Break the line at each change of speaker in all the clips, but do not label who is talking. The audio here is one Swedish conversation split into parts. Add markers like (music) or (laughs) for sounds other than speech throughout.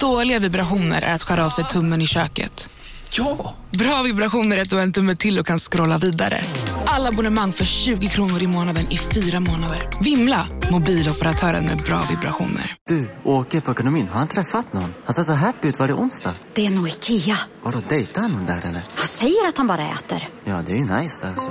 Dåliga vibrationer är att skära av sig tummen i köket.
Ja!
Bra vibrationer är att du har en tumme till och kan scrolla vidare. Alla abonnemang för 20 kronor i månaden i fyra månader. Vimla! Mobiloperatören med bra vibrationer.
Du, åker på ekonomin. Har han träffat någon? Han ser så happy ut. Var det onsdag?
Det är nog Ikea.
Har du dejtat någon där eller?
Han säger att han bara äter.
Ja, det är ju nice där alltså.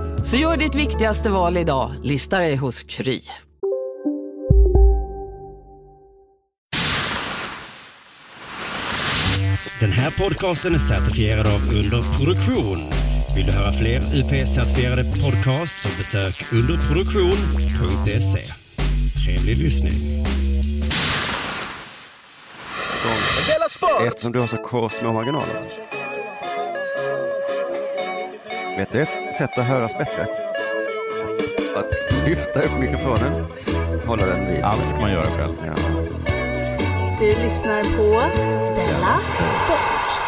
Så gör ditt viktigaste val idag, listar dig hos Kry.
Den här podcasten är certifierad av Underproduktion. Vill du höra fler UP-certifierade podcasts så besök underproduktion.se. Trevlig lyssning.
Eftersom du har så kort små marginaler. Vet du ett sätt att höras bättre? Att lyfta upp mikrofonen, hålla den vid.
Allt ska man göra själv.
Ja.
Du lyssnar på Della Sport.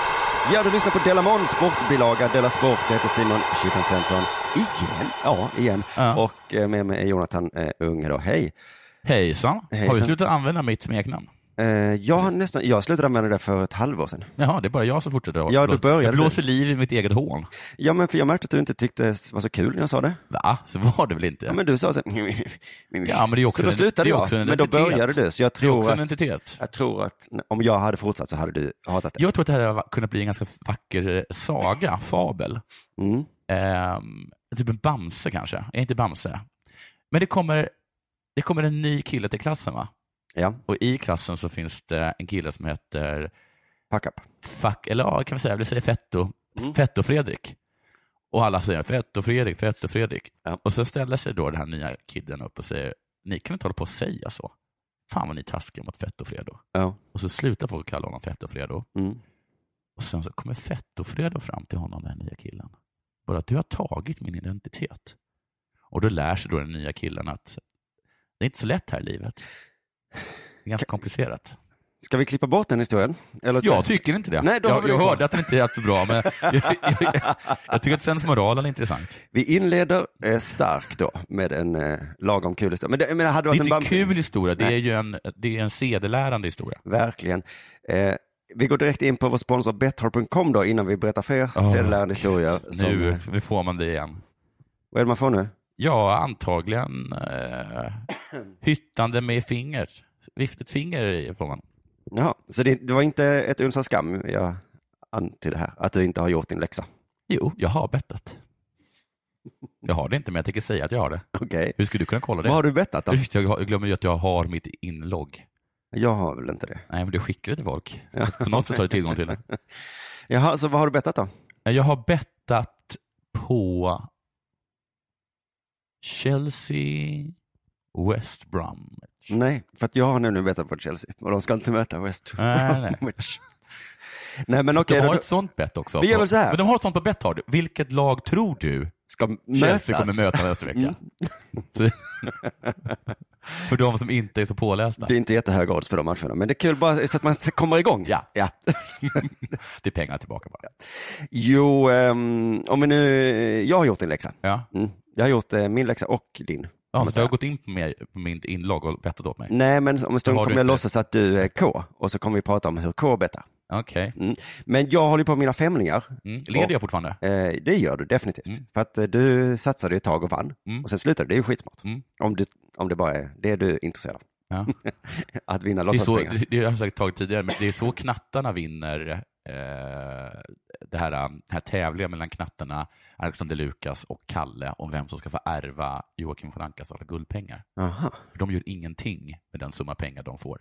Ja, du lyssnar på Della Måns sportbilaga. Della Sport, jag heter Simon Chippen Svensson. Igen? Ja, igen.
Ja.
Och eh, med mig är Jonathan eh, Unge då. Hej.
Hejsan. Har
Hejsan.
du slutat använda mitt smeknamn?
Eh, jag, har nästan, jag slutade använda det för ett halvår sedan.
Jaha, det är bara jag som fortsätter. att-
Ja, du
Förlåt.
började.
Jag blåser liv i mitt eget hål.
Ja, men för jag märkte att du inte tyckte det var så kul när jag sa det.
Va? Så var det väl inte?
Ja, men du sa så här,
Ja, men det är också
Så då
en-
slutade
det är
jag.
också en
men då
identitet.
började du, så jag
det är
tror
också en
att
entitet.
Jag tror att om jag hade fortsatt så hade du hatat det.
Jag tror att det här hade kunnat bli en ganska vacker eh, saga, fabel.
Mm.
Ehm, typ en Bamse kanske. Jag är inte Bamse. Men det kommer, det kommer en ny kille till klassen va?
Ja,
Och i klassen så finns det en kille som heter
pack up.
fuck, eller ja, kan vi säga, vi säger Fetto,
Mm.
Fetto Fredrik. Och alla säger Fetto Fredrik, Fetto Fredrik.
Ja.
Och så ställer sig då den här nya kidden upp och säger, ni kan väl inte hålla på och säga så? Fan vad ni är taskiga mot Fetto Fredo.
Ja.
Och så slutar folk kalla honom Fetto Fredo.
Mm.
Och sen så kommer Fetto Fredo fram till honom, den här nya killen. Bara att du har tagit min identitet. Och då lär sig då den nya killen att det är inte så lätt här i livet. Det är ganska komplicerat.
Ska vi klippa bort den historien? Eller
Jag tycker inte det.
Nej, då har
jag
vi det
jag
kvar.
hörde att den inte är så bra,
(laughs)
men jag, jag, jag, jag tycker att sensmoralen är intressant.
Vi inleder eh, starkt då med en eh, lagom kul historia. Men det, jag menar, hade
Det är
varit
inte
en Bamse-
en kul historia, det är
Nej.
ju en, det är en sedelärande historia.
Verkligen. Eh, vi går direkt in på vår sponsor Betthard.com då innan vi berättar fler
Åh,
sedelärande historier.
gud.
som-
Ah, Nu,
eh,
nu får man det igen.
Vad är det man får nu?
Ja, antagligen eh, hyttande med fingret. Viftigt finger får man.
Jaha, så det, det var inte ett uns av skam jag antydde här, att du inte har gjort din
(laughs)
läxa.
Jo, jag har bettat. Jag har det inte, men jag tänker säga att jag har det.
Okej.
Hur skulle du kunna kolla det?
Vad har du bettat då?
Just, jag har- jag glömmer ju att jag har mitt inlogg.
Jag har väl inte det.
Nej, men du skickar det till folk. På något sätt har du tillgång till det.
Jaha, så vad har du bettat då?
Jag har bettat på Chelsea, West
Mm.
Bromwich.
Nej, för att jag har nämligen bettat på Chelsea och de ska inte möta West
Nej, nej.
Bromwich. (laughs) Nej, men okej,
De
okay,
har
de
ett sånt bett också.
Vi gör
På-
väl så här.
Men de har ett sånt på Betthard. Vilket lag tror du
ska
Chelsea
mötas. Mm.
kommer möta nästa vecka? Så- (laughs) För de som inte är så pålästa.
Det är inte jättehöga odds på de matcherna, men det är kul bara så att man kommer igång.
Ja.
ja.
Det är pengarna tillbaka bara.
Jo, ehm, om vi nu, jag har gjort din läxa.
Ja.
Mm. Jag har gjort eh, min läxa och din.
Ja,
man
så du
säga. Mm.
har gått in på, mig, på min inlogg och bettat åt mig?
Nej, men om en stund
Har du
kommer jag
inte?
låtsas att du är K och så kommer vi prata om hur K bettar.
Okej.
Mm. Men jag håller på med mina femlingar.
Mm. Leder
Och-
jag fortfarande?
Eh, det gör du definitivt.
Mm.
För att eh, du satsade ju ett tag och vann.
Mm.
Och sen slutade du. Det är ju skitsmart.
Mm.
Om, du, om det bara är det du är intresserad av.
Ja.
Att vinna
Det, är så,
låtsaspengar.
det, det har jag säkert tagit tidigare, men det är så knattarna vinner eh, det här, den här tävlingen mellan knattarna Alexander Lukas och Kalle om vem som ska få ärva Joakim von Ankas alla guldpengar.
Aha.
För de gör ingenting med den summa pengar de får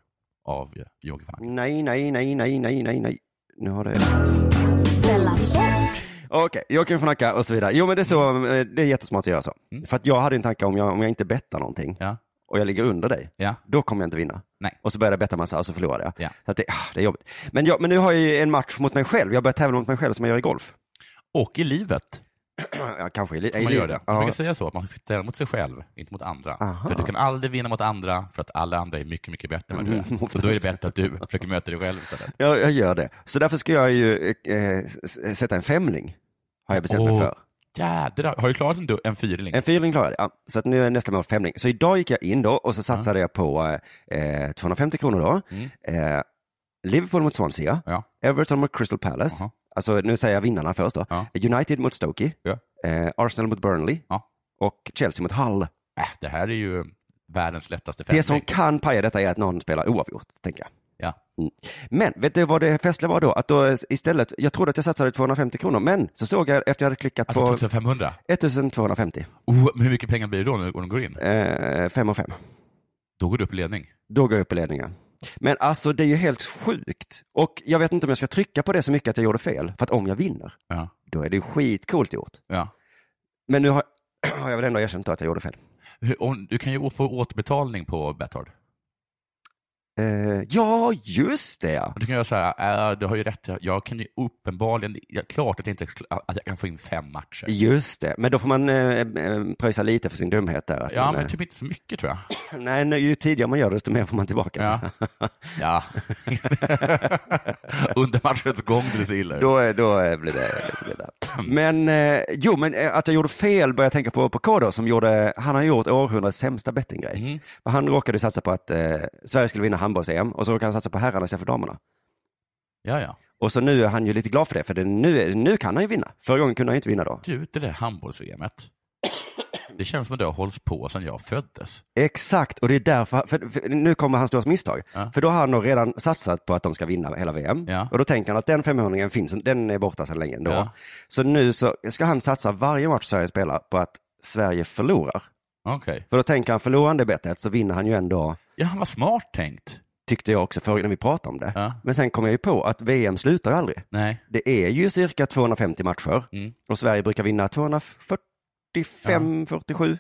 av Joakim von Anka.
Nej, nej, nej, nej, nej, nej, nej. Nu har det...
Della Sport.
Okej, Joakim von Anka och så vidare. Jo, men det är, så, eh, det är jättesmart att göra så.
Mm.
För att jag hade en tanke om jag, om jag inte bettar någonting
Ja.
och jag ligger under dig,
Ja.
då kommer jag inte vinna.
Nej.
Och så börjar jag betta massa och så förlorar jag.
Ja.
Så att det, ah, det är jobbigt. Men, jag, men nu har jag ju en match mot mig själv. Jag börjar tävla mot mig själv som jag gör i golf.
Och i livet.
ja, kanske i, li- i
Man gör
livet.
det. Man
Ja.
brukar säga så, att man ska tävla mot sig själv, inte mot andra.
Aha.
För du kan aldrig vinna mot andra, för att alla andra är mycket, mycket bättre än vad du
Mm.
är. Så då är det bättre att du försöker möta dig själv istället.
Jag, jag gör det. Så därför ska jag ju eh, s- sätta en femling. Har jag bestämt mig
Åh.
för.
Jädrar, har du klarat en, du- en fyrling?
En fyrling klarade jag. Ja, så att nu är nästa mål femling. Så idag gick jag in då och så satsade jag på eh, 250 kronor då.
Mm.
Eh, Liverpool mot Swansea.
Ja.
Everton mot Crystal Palace.
Aha.
Alltså nu säger jag vinnarna först då.
Ja.
United mot Stoke.
Ja.
Eh, Arsenal mot Burnley.
Ja.
Och Chelsea mot Hull.
Äh, det här är ju världens lättaste
Det
femling.
som kan paja detta är att någon spelar oavgjort, tänker jag.
Ja.
Mm. Men vet du vad det festliga var då? Att då istället, jag trodde att jag satsade 250 kronor, men så såg jag efter jag hade klickat
Alltså
på
2500?
1250,
Oh, men hur mycket pengar blir det då när de går in?
eh, 5 och 5.
Då går du upp i ledning.
Då går jag upp i ledningen. Men alltså det är ju helt sjukt. Och jag vet inte om jag ska trycka på det så mycket att jag gjorde fel. För att om jag vinner,
Ja.
då är det ju skitcoolt gjort.
Ja.
Men nu har, (clears throat) har jag väl ändå erkänt då att jag gjorde fel.
Hur- om- Du kan ju å- få återbetalning på Betthard.
Eh, ja, just det ja.
Du kan göra så här, äh, du har ju rätt, jag kan ju uppenbarligen, ja, klart att jag, inte, att jag kan få in fem matcher.
Just det. Men då får man eh, eh, pröjsa lite för sin dumhet där. Att
Ja,
man,
men
eh,
typ inte så mycket tror
(laughs)
jag.
Nej, nu, ju tidigare man gör det, desto mer får man tillbaka.
Ja. (laughs) Ja. Under matchens gång du ser illa ut.
Då, är- då är- blir det... Blir det. Men, eh, jo, men eh, att jag gjorde fel började jag tänka på, på K då, som gjorde, han har gjort århundradets sämsta bettinggrej.
Mhm.
För Han råkade satsa på att eh, Sverige skulle vinna handbolls-EM och så råkade han satsa på herrarna istället för damerna.
Ja, ja.
Och så nu är han ju lite glad för det, för det, nu, är- nu kan han ju vinna. Förra gången kunde han ju inte vinna då.
Du, det där handbolls-VMet. Det känns som att det har hållits på sedan jag föddes.
Exakt, och det är därför, för, för nu kommer hans stora misstag.
Ja.
För då har han nog redan satsat på att de ska vinna hela VM.
Ja.
Och då tänker han att den 500 finns, den är borta sedan länge ändå.
Ja.
Så nu så ska han satsa varje match Sverige spelar på att Sverige förlorar.
Okej.
För då tänker han, förlorar han det bettet så vinner han ju ändå,
Ja, han var smart tänkt.
tyckte jag också förr när vi pratade om det.
Ja.
Men sen kom jag ju på att VM slutar ju aldrig.
Nej.
Det är ju cirka 250 matcher
Mm.
och Sverige brukar vinna 245, 47.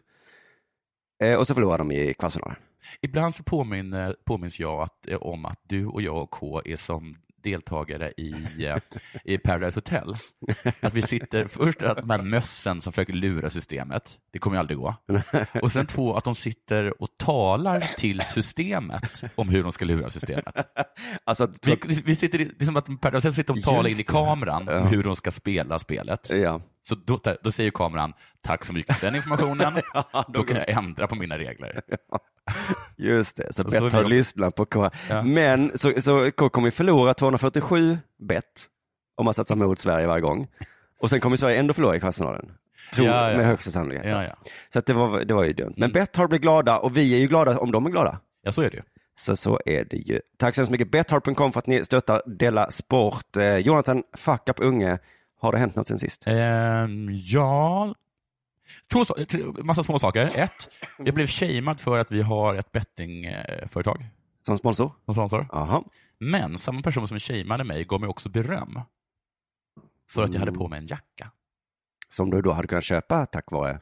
Eh, och så förlorar de i kvartsfinalen.
Ibland så påminner, påminns jag att, eh, om att du och jag och K är som deltagare i, eh, i Paradise Hotel. Att vi sitter, först att de här mössen som försöker lura systemet, det kommer ju aldrig gå. Och sen två, att de sitter och talar till systemet om hur de ska lura systemet.
Alltså, att-
Vi, vi sitter, i- det är som att Paradise Hotel sitter och talar
Just
in i
det.
kameran
Ja.
om hur de ska spela spelet.
ja.
Så då, då säger kameran, tack så mycket för den informationen, (laughs) då kan jag ändra på mina regler.
Just det, så
Och så
bett
är vi
har
också-
lyssnat på K.
Ja.
Men så, så K kommer ju förlora 247 bett om man satsar mot Sverige varje gång. Och sen kommer Sverige ändå förlora i kvartsfinalen. Tror
Ja, ja.
med högsta sannolikhet.
Ja, Mm. ja.
Så att det, var, det var ju dumt. Men bett har blivit glada och vi är ju glada om de är glada.
ja, så är det ju.
Så så är det ju. Tack så hemskt mycket Betthard.com för att ni stöttar Della Sport. Eh, Jonathan, fuck up unge. Har det hänt något sen sist?
Ehm, ja... Två, sa- tre- massa små saker. Ett, jag blev shamed för att vi har ett bettingföretag
Som sponsor?
som sponsor.
Jaha.
Men samma person som shameade mig gav mig också beröm för att jag hade på mig en jacka.
Som du då hade kunnat köpa tack vare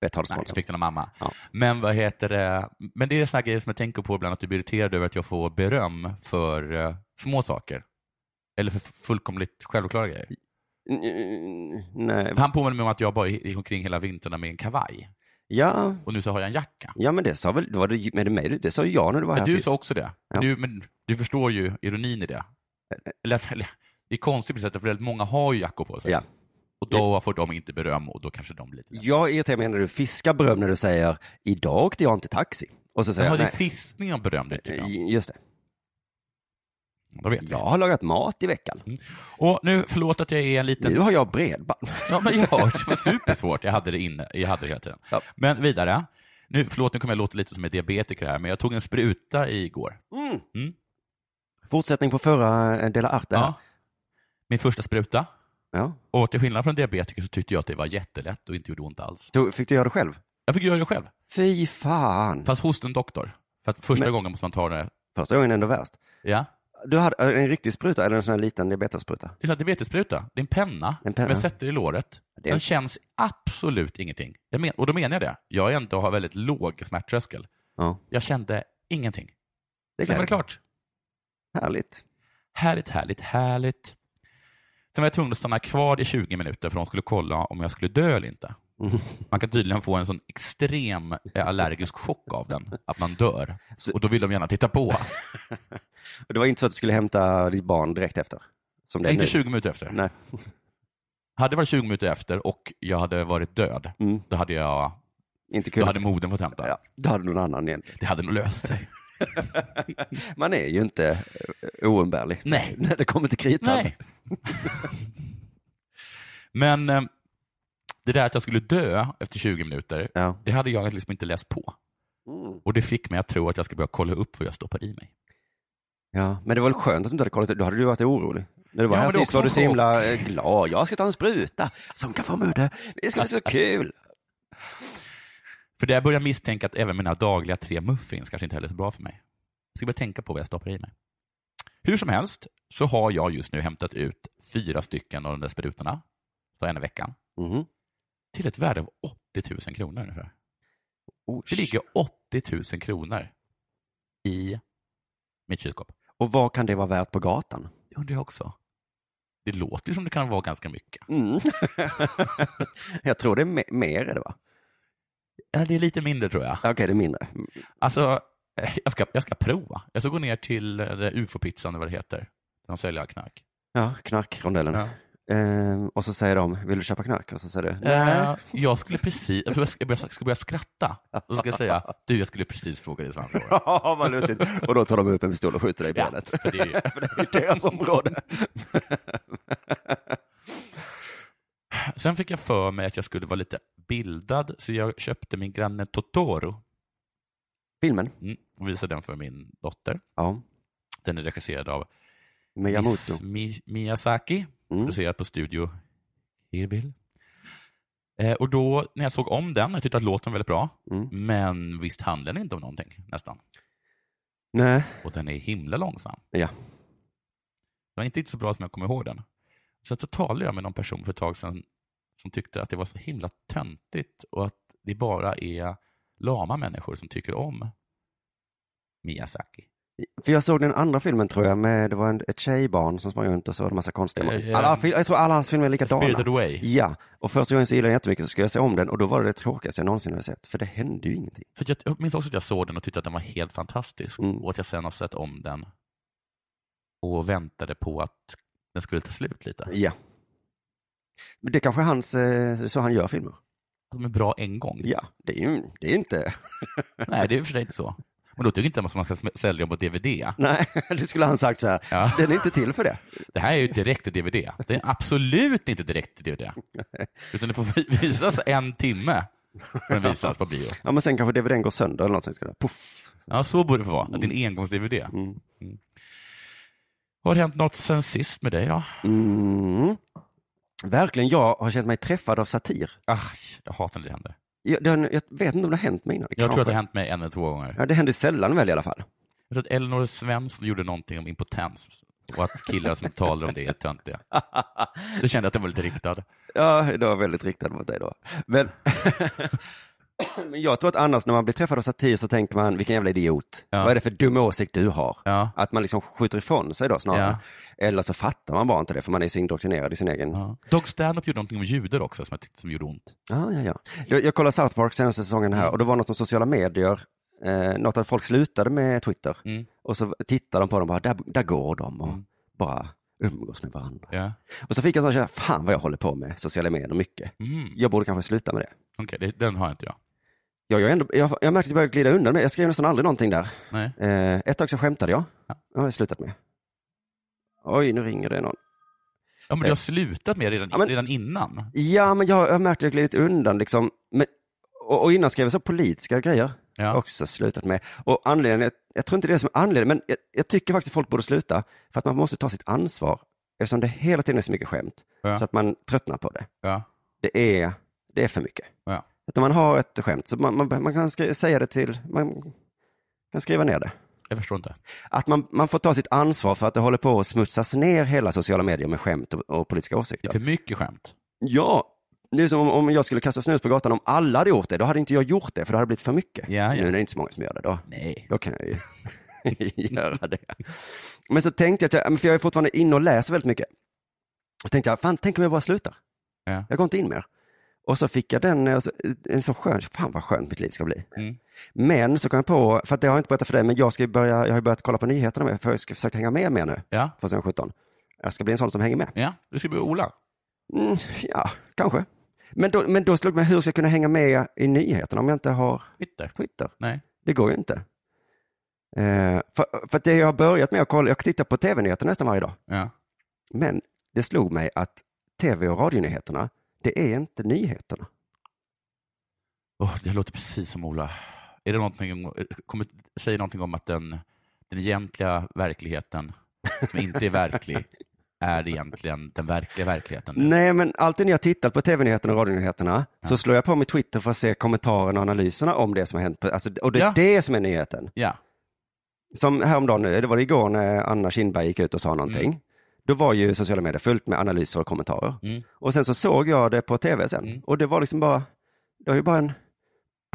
Betthard
Nej, jag
sponsor.
fick den av mamma.
Ja.
Men vad heter det? Men det är sådana grejer som jag tänker på ibland, att du blir irriterad över att jag får beröm för eh, små saker. Eller för fullkomligt självklara grejer.
Mm, Nej.
Han påminner mig om att jag bara gick omkring hela vintern med en kavaj.
Ja,
Och nu så har jag en jacka.
Ja men det sa väl, var det, men det, mig, det sa ju jag när du var här
Men du
sist.
sa också det.
Ja.
Men, du, men du förstår ju ironin i det. Eller, (laughs) eller, det är konstigt på det sättet, för väldigt många har ju jackor på sig.
Ja.
Och då får de inte beröm och då kanske de blir lite ledsna.
Jag irriterar mig när du fiskar beröm när du säger idag åkte jag inte taxi. Och så säger
Jaha,
jag,
det är
nej,
fiskning av beröm, det tycker jag.
j- just det.
Då vet
Jag
jag.
har lagat mat i veckan.
Mm. Och nu, förlåt att jag är en liten...
Nu har jag bredband.
Ja, men jag har det var supersvårt. Jag hade det inne, jag hade det hela tiden.
Ja.
Men vidare. Nu, förlåt, nu kommer jag låta lite som en diabetiker här, men jag tog en spruta igår.
Mm.
Mm.
Fortsättning på förra eh, Dela Arte. här.
Ja. Min första spruta.
Ja.
Och till skillnad från diabetiker så tyckte jag att det var jättelätt och inte gjorde ont alls.
Då Fick du göra det själv?
Jag fick göra det själv,
Fy fan.
fast hos en doktor. För att första
Men-
gången måste man ta det.
Första gången ändå värst.
Ja.
Du hade eh, en riktig spruta eller en sån här liten diabetesspruta?
Det är en diabetesspruta. Det är en penna,
En penna.
som jag sätter i låret.
Det-
Sen känns absolut ingenting. Jag men, och då menar jag det. Jag är ändå har väldigt låg smärttröskel.
Ja.
Jag kände ingenting.
Det
Sen var det
gläder mig.
klart.
Härligt.
Härligt, härligt, härligt. Sen var jag tvungen att stanna kvar i 20 minuter för de skulle kolla om jag skulle dö
(laughs)
eller inte. Man kan tydligen få en sån extrem eh, allergisk chock av den, att man dör.
Så-
Och då vill de gärna titta på.
Och det var inte så att du skulle hämta ditt barn direkt efter? Som det är
Inte
nu.
20 minuter efter.
Nej.
Hade det varit 20 minuter efter och jag hade varit död,
Mm.
då hade, jag,
Inte kul.
då hade moden fått hämta.
ja, då hade någon annan igen.
Det hade nog löst sig.
Man är ju inte eh, oumbärlig.
Nej.
(laughs) När det kommer till kritan.
Nej. Men eh, det där att jag skulle dö efter 20 minuter,
Ja.
det hade jag liksom inte läst på.
Mm.
Och det fick mig att tro att jag ska börja kolla upp vad jag stoppar i mig.
ja. Men det var väl skönt att du inte hade kollat upp. Då hade du varit orolig. När du var
Ja,
här
men det är
sist
också
var du
en
så himla eh, glad. Jag ska ta en spruta som kan få mode. Det ska bli
(laughs)
så kul.
För där börjar jag misstänka att även mina dagliga tre muffins kanske inte heller är så bra för mig. Jag ska börja tänka på vad jag stoppar i mig. Hur som helst så har jag just nu hämtat ut fyra stycken av de där sprutorna, så en i veckan,
Mhm.
till ett värde av 80 000 kronor ungefär.
Osh.
Det ligger 80 000 kronor i mitt kylskåp.
Och vad kan det vara värt på gatan?
Det undrar jag också. Det låter som det kan vara ganska mycket.
Mm. (laughs) jag tror det är me- mer är det va?
Ja, Det är lite mindre tror jag.
Okej, det är mindre.
Alltså, eh, jag ska, jag ska prova. Jag ska gå ner till eh, det ufo-pizzan eller vad det heter. Där de säljer knark.
Ja, knarkrondellen. Ehm, och så säger de, vill du köpa knark? Och så säger du,
Eh, Jag skulle precis, jag ska börja, ska börja skratta. Och så ska jag säga, du jag skulle precis fråga dig samma fråga.
Ja, (laughs) vad lustigt. Och då tar de upp en pistol och skjuter dig i
Ja,
benet.
för det är ju-
(laughs) För det är ju deras område.
(laughs) Sen fick jag för mig att jag skulle vara lite bildad, så jag köpte min granne Totoro
Filmen?
mm, och visade den för min dotter.
Ja.
Den är regisserad av
Miyamoto.
Miss, Mi, Miyazaki,
Mm.
producerad på Studio Ghibli. Eh, och då, när jag såg om den, jag tyckte att låten var väldigt bra,
Mm.
men visst handlar den inte om någonting, nästan.
Nej.
Och den är himla långsam.
Ja.
Det var inte så bra som jag kommer ihåg den. Sen så talade jag med någon person för ett tag sedan som tyckte att det var så himla töntigt och att det bara är lama människor som tycker om Miyazaki.
För jag såg den andra filmen tror jag, med, det var en, ett tjejbarn som sprang runt och så var det en massa konstiga
Eh, eh,
alla, fil- Jag tror alla hans filmer är
Spirited
likadana.
Away.
Ja, och första gången så gillade jag den jättemycket så skulle jag se om den och då var det det tråkigaste jag någonsin hade sett. För det hände ju ingenting.
För att jag, jag minns också att jag såg den och tyckte att den var helt fantastisk
Mm.
och att jag sen har sett om den och väntade på att den skulle ta slut lite.
Ja. Men det kanske är hans, eh, så han gör filmer.
Att De är bra en gång.
Ja, det är ju det är inte... (laughs)
Nej, det är i och för sig inte så. Men då tycker inte jag att man ska sm- sälja dem på DVD.
Nej, det skulle han sagt så här.
Ja.
Den är inte till för det.
Det här är ju direkt till DVD. Det är absolut inte direkt till DVD. Utan det får vi- visas en timme. När den visas på bio.
Ja, men sen kanske DVDn går sönder eller någonting. Ska det, puff.
Ja, så borde det få vara. Att det är en engångs-DVD. Mm. Har det hänt något sen sist med dig då?
Mm. Verkligen, jag har känt mig träffad av satir.
Ah, jag hatar när det händer.
Jag, den, jag vet inte om det har hänt mig innan.
Jag tror
kanske.
att det har hänt mig en eller två gånger.
Ja, det händer sällan väl i alla fall.
Jag tror att Elinor Svensson gjorde någonting om impotens och att killar som talar om det är töntiga. Då kände jag att den var lite riktad.
Ja, det var väldigt riktat mot dig då.
(laughs)
Men, men jag tror att annars när man blir träffad av satir så tänker man, vilken jävla idiot.
Ja.
Vad är det för dum åsikt du har?
Ja.
Att man liksom skjuter ifrån sig då snarare. Eller så fattar man bara inte det för man är så indoktrinerad i sin egen... Ja,
Ja. Dog Stanhope gjorde någonting om judar också som, jag tyckte, som gjorde ont.
ja, ja. Jag, jag kollade South Park senaste säsongen
Mm.
här och det var något om sociala medier. Eh, något att folk slutade med Twitter.
Mm.
Och så tittar de på dem bara, där, där går de och bara umgås med varandra.
Ja.
Och så fick jag en sån känsla, fan vad jag håller på med sociala medier mycket.
Mm.
Jag borde kanske sluta med det.
Okej, det- den har inte jag.
Ja, jag, är ändå, jag, jag märkte att jag började glida undan med Jag skrev nästan aldrig någonting där.
Nej.
Eh, ett tag så skämtade jag.
Ja.
Det har jag slutat med. Oj, nu ringer det någon.
Ja, men du har slutat med det redan,
Eh. Ja, men-
redan innan.
Ja, men jag, jag märkte att jag glidit undan liksom. Men, och, och innan skrev jag så politiska grejer.
Ja.
Också slutat med. Och anledningen, jag, jag tror inte det är det som är anledningen, men jag, jag tycker faktiskt att folk borde sluta. För att man måste ta sitt ansvar. Eftersom det hela tiden är så mycket skämt.
Ja.
Så att man tröttnar på det.
Ja.
Det är, det är för mycket.
Ja.
Att när man har ett skämt så man, man, man kan skri- säga det till, man kan skriva ner det.
Jag förstår inte.
Att man, man får ta sitt ansvar för att det håller på att smutsas ner hela sociala medier med skämt och, och politiska
Det är
åsikter.
för mycket skämt.
Ja, Det är som om, om jag skulle kasta snus på gatan, om alla hade gjort det, då hade inte jag gjort det, för det hade blivit för mycket.
Ja, ja.
Nu är det inte så många som gör det då.
Nej.
Då kan jag ju (laughs) göra det. Men så tänkte jag, att jag- men för jag är fortfarande inne och läser väldigt mycket. Så tänkte jag, fan tänk om jag bara slutar.
Ja.
Jag går inte in mer. Och så fick jag den, och så, eh, en så skön, fan vad skönt mitt liv ska bli.
Mm.
Men så kom jag på, för att det har jag inte berättat för dig, men jag, ska ju börja, jag har ju börjat kolla på nyheterna med, för jag ska försöka hänga med mer nu,
Ja.
2017. Jag ska bli en sån som hänger med.
ja, du ska bli Ola.
Mm, ja, kanske. Men då, men då slog det mig, hur ska jag kunna hänga med i nyheterna om jag inte har
Twitter.
Twitter?
Nej.
Det går ju inte. Eh, för, för att det jag har börjat med att kolla, jag tittar på tv-nyheter nästan varje dag,
Ja.
men det slog mig att tv och radionyheterna, det är inte nyheterna.
Åh, det låter precis som Ola. Är det någonting, kommer, säger någonting om att den, den egentliga verkligheten, som inte
(laughs)
är verklig, är egentligen den verkliga verkligheten? nu?
Nej, men alltid när jag tittar på tv-nyheterna och radionyheterna så slår jag på mitt Twitter för att se kommentarerna och analyserna om det som har hänt. På, alltså, och det är
Ja.
det som är nyheten.
Ja.
Som häromdagen, nu, det var det igår när Anna Kinberg gick ut och
Mm.
sa någonting. Då var ju sociala medier fullt med analyser och kommentarer.
Mm.
Och sen så såg jag det på tv sen.
Mm.
Och det var liksom bara, det var ju bara en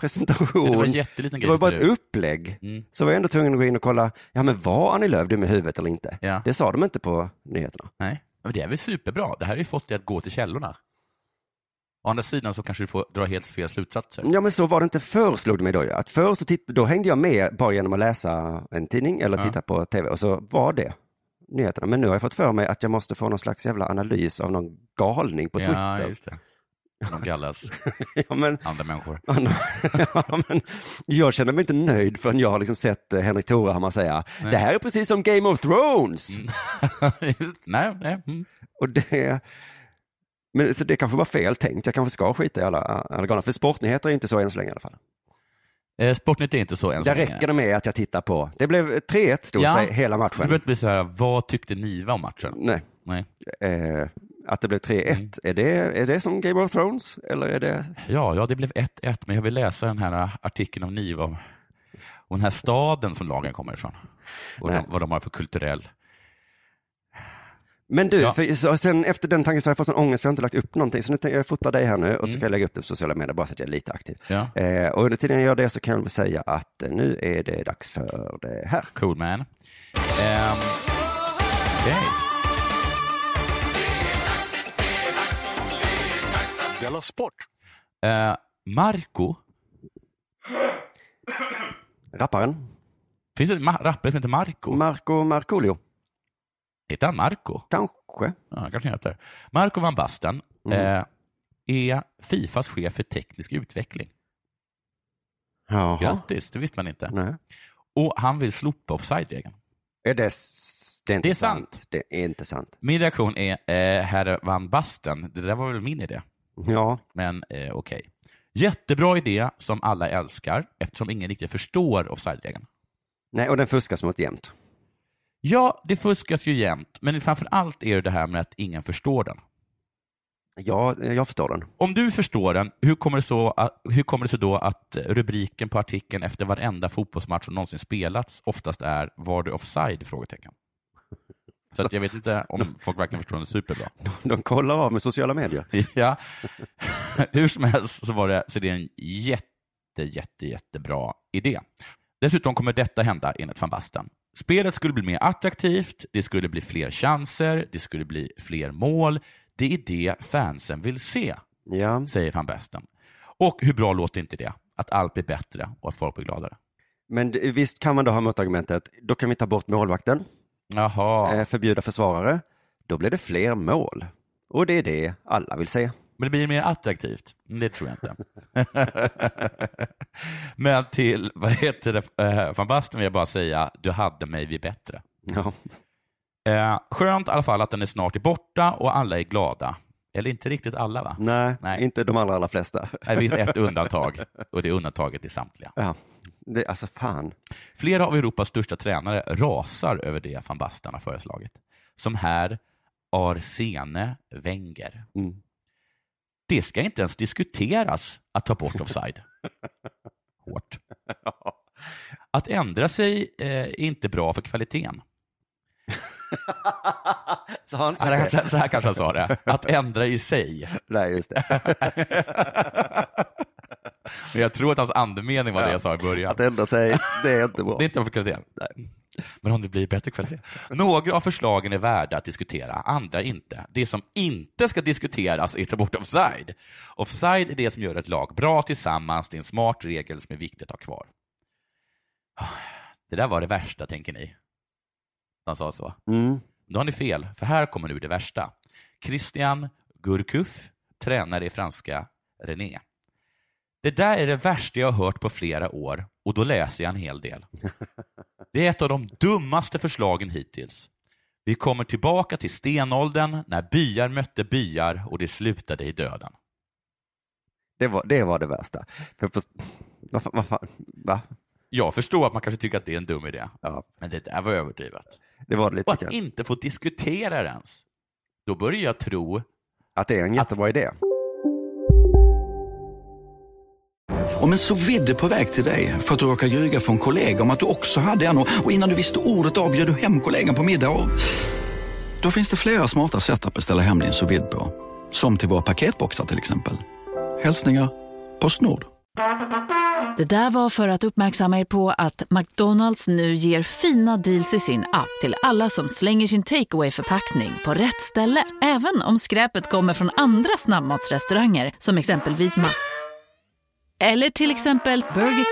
presentation.
Det var en jätteliten
Oh. Det
grej.
var ju bara
för
ett
dig.
upplägg.
Mm.
Så var jag ändå tvungen att gå in och kolla, ja men var Annie Lööf dum i huvudet eller inte?
Ja.
Det sa de inte på nyheterna.
Nej, men det är väl superbra. Det här har ju fått dig att gå till källorna. Å andra sidan så kanske du får dra helt fel slutsatser.
Ja men så var det inte förr slog det mig då ju. Att förr så titt- då hängde jag med bara genom att läsa en tidning eller
Ja.
titta på tv och så var det nyheterna. Men nu har jag fått för mig att jag måste få någon slags jävla analys av någon galning på
Ja,
Twitter.
just det. De kallas
(laughs) Ja, men,
andra människor.
ja, men, jag känner mig inte nöjd förrän jag har liksom sett eh, Henrik Torehammar säga, det här är precis som Game of Thrones.
Mm. Just- nej, nej. Mm.
Och det, men, så det kanske var fel tänkt, jag kanske ska skita i alla, alla galna. För sportnyheter är inte så än så länge i alla fall.
Eh, Sportnytt är inte så än så
Där
länge.
räcker det med att jag tittar på. Det blev 3-1 stod
Ja.
sig hela
Du
matchen.
behöver inte bli så här, vad tyckte Niva om matchen?
Nej,
Nej.
eh, att det blev 3-1,
Mm.
är, det, är det som Game of Thrones? Eller är det...
Ja, ja, det blev 1-1, men jag vill läsa den här artikeln om Niva om, om den här staden som lagen kommer ifrån. Och
Nej.
de, vad de har för kulturell...
Men du,
Ja.
för, så, sen efter den tanken så har jag fått sån ångest för jag har inte lagt upp någonting. Så nu tänker jag fota dig här nu och så ska jag lägga upp det på sociala medier bara så att jag är lite aktiv.
Ja.
Eh, och under tiden jag gör det så kan jag väl säga att eh, nu är det dags för det här.
Cool man. Ehm, Okej.
Della Sport.
Eh, Marco,
Rapparen
finns det en ma- rappare som heter Marco?
Marco Markoolio,
heter han Marco?
kanske.
Ja, han kanske heter. Marco van Basten eh, är Fifas chef för teknisk utveckling.
Jaha.
Grattis, det visste man inte.
Nej.
Och han vill slopa offside-regeln.
Är det, s- det är inte
Det är
sant.
sant.
Det är inte sant.
Min reaktion är, eh, herr van Basten, det där var väl min idé,
Ja,
men eh, okej. Jättebra idé som alla älskar, eftersom ingen riktigt förstår offside-regeln.
nej, och den fuskas mot jämt.
Ja, det fuskas ju jämt, men framför allt är det det här med att ingen förstår den.
Ja, jag förstår den. (laughs)
Om du förstår den, hur kommer, det så att, hur kommer det sig då att rubriken på artikeln efter varenda fotbollsmatch som någonsin spelats oftast är ”Var du offside?” frågetecken? Så att jag vet inte om folk verkligen förstår den superbra.
De kollar av med sociala medier.
Ja. (laughs) Hur som helst så var det, så det är en jätte, jätte, jättebra idé. Dessutom kommer detta hända enligt van Basten. Spelet skulle bli mer attraktivt, det skulle bli fler chanser, det skulle bli fler mål. Det är det fansen vill se
Ja,
säger van Basten. Och hur bra låter inte det? Att allt blir bättre och att folk blir gladare.
men d- visst kan man då ha motargumentet, då kan vi ta bort målvakten,
Jaha,
eh, förbjuda försvarare, då blir det fler mål. Och det är det alla vill (laughs) se.
men det blir mer attraktivt. Mm, Det tror jag inte. Men till, vad heter det, eh, van Basten vill jag bara säga, du hade mig vid bättre.
Ja.
Eh, Skönt i alla fall att den är snart är borta och alla är glada. Eller inte riktigt alla va?
Nej,
Nej.
inte de allra, allra flesta.
Det finns ett undantag och det undantaget är samtliga.
Ja. Det, alltså fan,
Flera av Europas största tränare rasar över det van Basten har föreslagit. Som här Arsene Wenger.
Mm.
Det ska inte ens diskuteras att ta bort offside. Hårt. Att ändra sig eh, är inte bra för kvaliteten.
Så har han
Så här,
sagt det?
kanske- så här kanske han sa det. Att ändra i sig.
Nej, just det. (laughs)
Men jag tror att hans andemening var det jag sa i början.
Att ändra sig, det är inte bra.
Det är inte för kvalitet. Men om det blir bättre kvalitet. Några av förslagen är värda att diskutera, andra inte. Det som inte ska diskuteras är att ta bort offside. Offside är det som gör ett lag bra tillsammans, det är en smart regel som är viktig att ha kvar. Ah, Det där var det värsta, tänker ni? Han sa så.
Mm.
Då har ni fel, för här kommer nu det värsta. Christian Gurkuf, tränare i franska René. Det där är det värsta jag har hört på flera år och då läser jag en hel del. Det är ett av de dummaste förslagen hittills. Vi kommer tillbaka till stenåldern när byar mötte byar och det slutade i döden.
Det, var, det var det värsta. För på, vad fan, vad fan, va?
Jag förstår att man kanske tycker att det är en dum idé,
Ja,
men det där var överdrivet.
det var det lite
Och att
grann.
inte få diskutera det ens. Då börjar jag tro
Att det är en jättebra idé.
Om en så vidde på väg till dig för att du råkar ljuga från kollega om att du också hade en och och innan du visste ordet av bjöd du hem kollegan på middag och... Då finns det flera smarta sätt att beställa hem din sous vide på. Som till våra paketboxar till exempel. Hälsningar Postnord.
Det där var för att uppmärksamma er på att McDonalds nu ger fina deals i sin app till alla som slänger sin takeaway förpackning på rätt ställe. Även om skräpet kommer från andra snabbmatsrestauranger som exempelvis Ma... Eller till exempel Burger...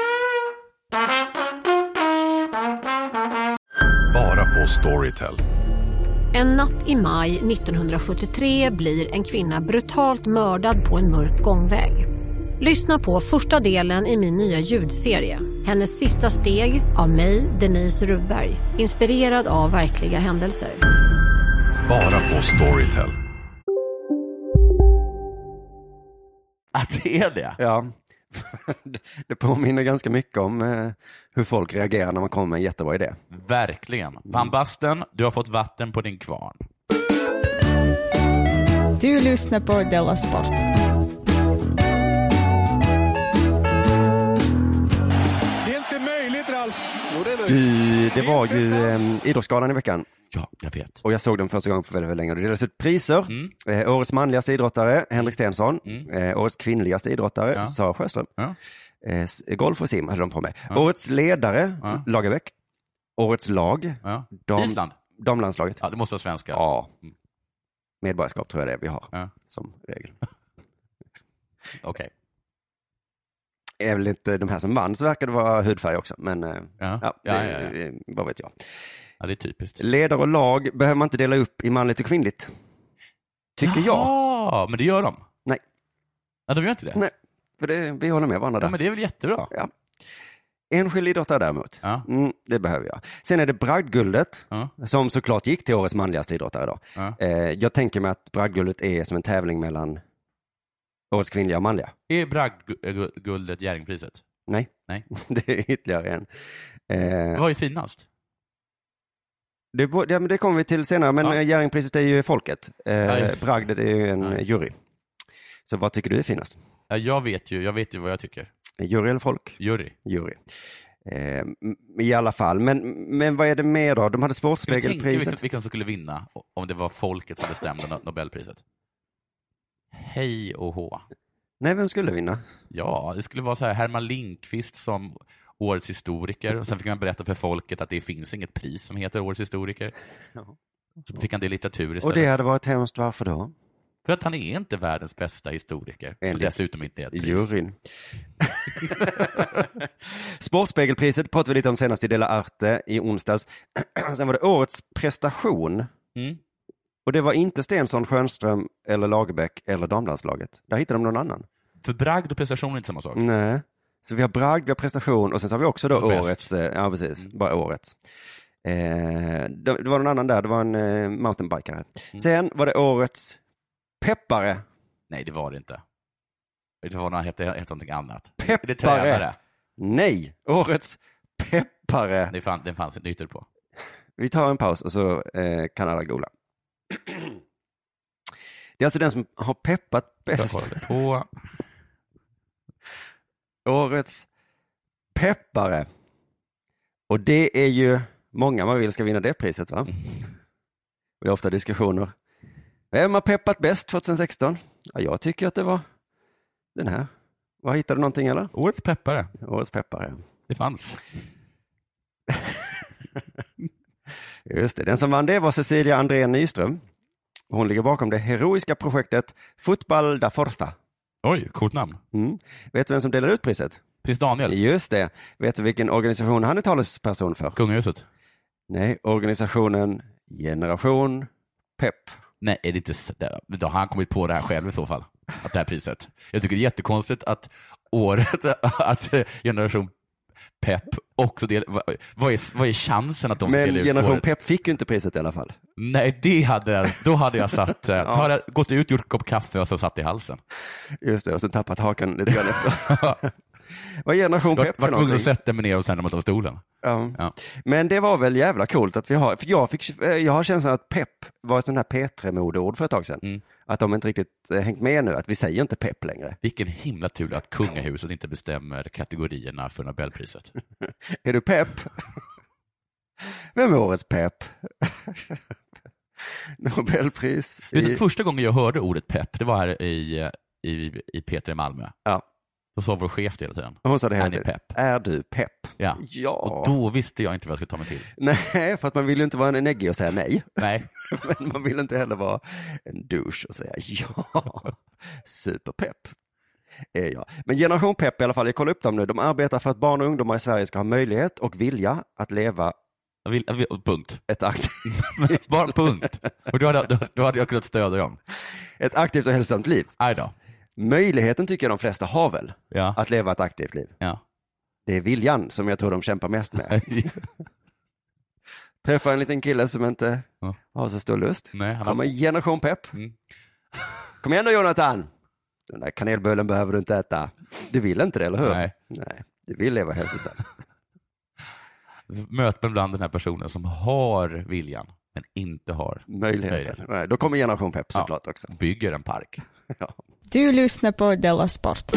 Bara på Storytel.
En natt i maj 1973 blir en kvinna brutalt mördad på en mörk gångväg. Lyssna på första delen i min nya ljudserie. Hennes sista steg av mig, Denise Rubberg. Inspirerad av verkliga händelser.
Bara på Storytel.
att det är det.
Ja. (laughs) det påminner ganska mycket om eh, hur folk reagerar när man kommer med en jättebra idé.
Verkligen. Van Basten, du har fått vatten på din kvarn.
Du lyssnar på Della Sport.
Du, det var ju eh, Idrottsgalan i veckan
Ja, jag vet.
och jag såg den första gången på väldigt, väldigt länge. Det delades ut priser.
Mm.
Eh, årets manligaste idrottare, Henrik Stenson.
Mm.
Eh, årets kvinnligaste idrottare,
Ja.
Sara Sjöström.
Ja.
Eh, s- golf och sim höll de på med.
Ja.
Årets ledare,
Ja.
Lagerbäck. Årets lag,
Ja.
Dam-
Island.
damlandslaget.
Ja, det måste vara svenska.
Ja.
Mm.
Medborgarskap tror jag det är vi har
Ja.
som regel.
Okej.
Är väl inte de här som vann så verkar det vara hudfärg också, men eh,
Ja.
ja,
Ja,
det,
ja, ja.
eh, vad vet jag.
ja, det är typiskt.
Ledare och lag behöver man inte dela upp i manligt och kvinnligt. Tycker jag.
Ja, men det gör de.
Nej.
Ja, de gör inte det?
Nej. För det, vi håller med varandra där.
Ja, men det är väl jättebra?
Enskild idrottare däremot,
Ja.
mm, det behöver jag. Sen är det bragdguldet,
Ja.
som såklart gick till årets manligaste idrottare. Då.
Ja.
Eh, jag tänker mig att bragdguldet är som en tävling mellan årets kvinnliga och manliga. (laughs)
Är bragdguldet Jerringpriset?
Nej,
Nej.
det är ytterligare en. Eh,
Vad är finast?
det, bo- ja, men det kommer vi till senare, men
Ja.
ja. Jerringpriset är ju folket. Eh,
just det.
bragdet är ju en
Ja.
jury. Så vad tycker du är finast?
Ja, jag, vet ju, jag vet ju vad jag tycker.
Jury eller folk?
Jury.
jury. Eh, m- I alla fall, men, men vad är det mer då? De hade
Ska vi tänka
Sportspegelpriset.
vilka, vilka som skulle vinna om det var folket som bestämde no- Nobelpriset? Hej och hå.
Nej, vem skulle vinna?
Ja, det skulle vara så här Herman Lindqvist som årets historiker och sen fick man berätta för folket att det finns inget pris som heter årets historiker.
Ja.
Så fick han det i litteratur
Och
istället.
det hade varit hemskt, varför då?
För att han är inte världens bästa historiker, som
Enligt
dessutom inte är ett pris.
Juryn. (laughs) Sportspegelpriset pratade vi lite om senast i Dela Arte i onsdags. (clears throat) Sen var det årets prestation.
Mm.
Och det var inte Stensson, Schönström eller Lagerbäck eller damlandslaget. Där hittade de någon annan.
För bragd och prestation är inte samma sak.
Nej. Så vi har bragd, vi har prestation och sen så har vi också då
Och så bäst. Mm.
årets, eh, ja precis, bara årets. Eh, det, det var någon annan där, det var en eh, mountainbikare.
Mm.
Sen var det årets peppare.
Nej, det var det inte. Det var något, hette, hette någonting annat. Det är
Peppare.
tränare.
Nej, årets peppare.
Det, fann, det fanns ett nytt på.
Vi tar en paus och så eh, kan alla googla. (clears throat) Det är alltså den som har peppat
Jag
bäst.
kollade på.
Årets peppare. Och det är ju många man vill ska vinna det priset va? Och det är ofta diskussioner. Vem har peppat bäst 2016? Ja, jag tycker att det var den här. Vad hittade du någonting eller?
Årets peppare.
Årets peppare.
Det fanns.
Just det, den som vann det var Cecilia André Nyström. Hon ligger bakom det heroiska projektet Fotboll da Forza.
Oj, coolt namn.
Mm. Vet du vem som delade ut priset?
Prins Daniel,
Just det. Vet du vilken organisation han är talesperson för?
kungahuset.
Nej, organisationen Generation Pepp.
Nej, är det inte så- det- då har han kommit på det här själv i så fall? Att det här priset. Jag tycker det är jättekonstigt att året, (laughs) att generation Pepp också del, vad, vad, är, vad är chansen att de ska
Men
dela ut
Generation
året?
Pepp fick ju inte priset i alla fall.
Nej, det hade jag, då hade jag
(laughs)
satt, eh, då hade jag gått ut, gjort en kopp kaffe och sen satt i halsen.
Just det, och sen tappat hakan lite grann
(laughs)
efter. (laughs) Vad är Generation
Var,
Pepp
var
för
tvungen
någonting?
att sätta mig ner och sen ramlat av stolen.
Ja.
Ja.
Men det var väl jävla coolt att vi har, för jag, fick, eh, jag har känslan att pepp var ett sånt här P3-modeord för ett tag sedan.
Mm.
Att de inte riktigt eh, hängt med nu, att vi säger inte pepp längre.
Vilken himla tur att kungahuset inte bestämmer kategorierna för Nobelpriset.
Är du
(laughs)
pepp? Vem är årets pepp? (laughs) Nobelpris
Du vet,
i...
Första gången jag hörde ordet pepp, det var här i, i, i Peter i Malmö.
Ja.
Då sa vår chef det hela tiden.
Hon sa det hela
Är ni
tiden.
pepp?
Är du pepp?
Ja.
Ja.
Och då visste jag inte vad jag skulle ta mig till.
(laughs) Nej, för att man vill ju inte vara en neggig och säga nej.
Nej,
Men man vill inte heller vara en douche och säga ja, superpepp är jag. Men Generation Pepp i alla fall, jag kollar upp dem nu, de arbetar för att barn och ungdomar i Sverige ska ha möjlighet och vilja att leva
jag vill, jag vill, punkt. (laughs)
ett aktivt, (laughs)
Bara punkt. Och då hade, jag- då, då hade jag kunnat stödja dem.
ett aktivt och hälsosamt liv.
Aj då.
Möjligheten tycker jag de flesta har väl,
Ja.
att leva ett aktivt liv.
ja. (laughs)
Det är viljan som jag tror de kämpar mest med. Träffar en liten kille som inte
Ja.
har så stor lust.
Nej, han har-
Kommer Generation Pepp.
Mm.
Kom igen då Jonathan! Den där kanelbullen behöver du inte äta. Du vill inte det, eller hur?
Nej.
Nej, du vill leva hälsosamt.
Möt mig bland den här personen som har viljan, men inte har.
Möjligheten.
Möjligheten.
Nej, Då kommer Generation Pepp såklart också.
Bygger en park.
Ja.
Du lyssnar på Della Sport.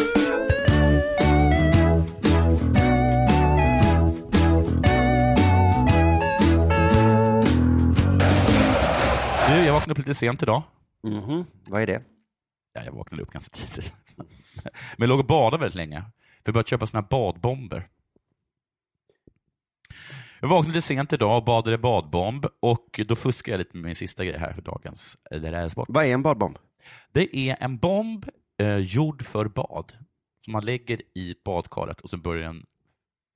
Du, jag vaknade upp lite sent idag.
Mhm. Vad är det?
Ja, jag vaknade upp ganska tidigt. (laughs) Men jag låg och badade väldigt länge. För jag började köpa såna här badbomber. Jag vaknade lite sent idag och badade badbomb och då fuskade jag lite med min sista grej här för dagens eh, det här är sport.
Vad är en badbomb?
Det är en bomb eh, gjord för bad som man lägger i badkaret och sen börjar den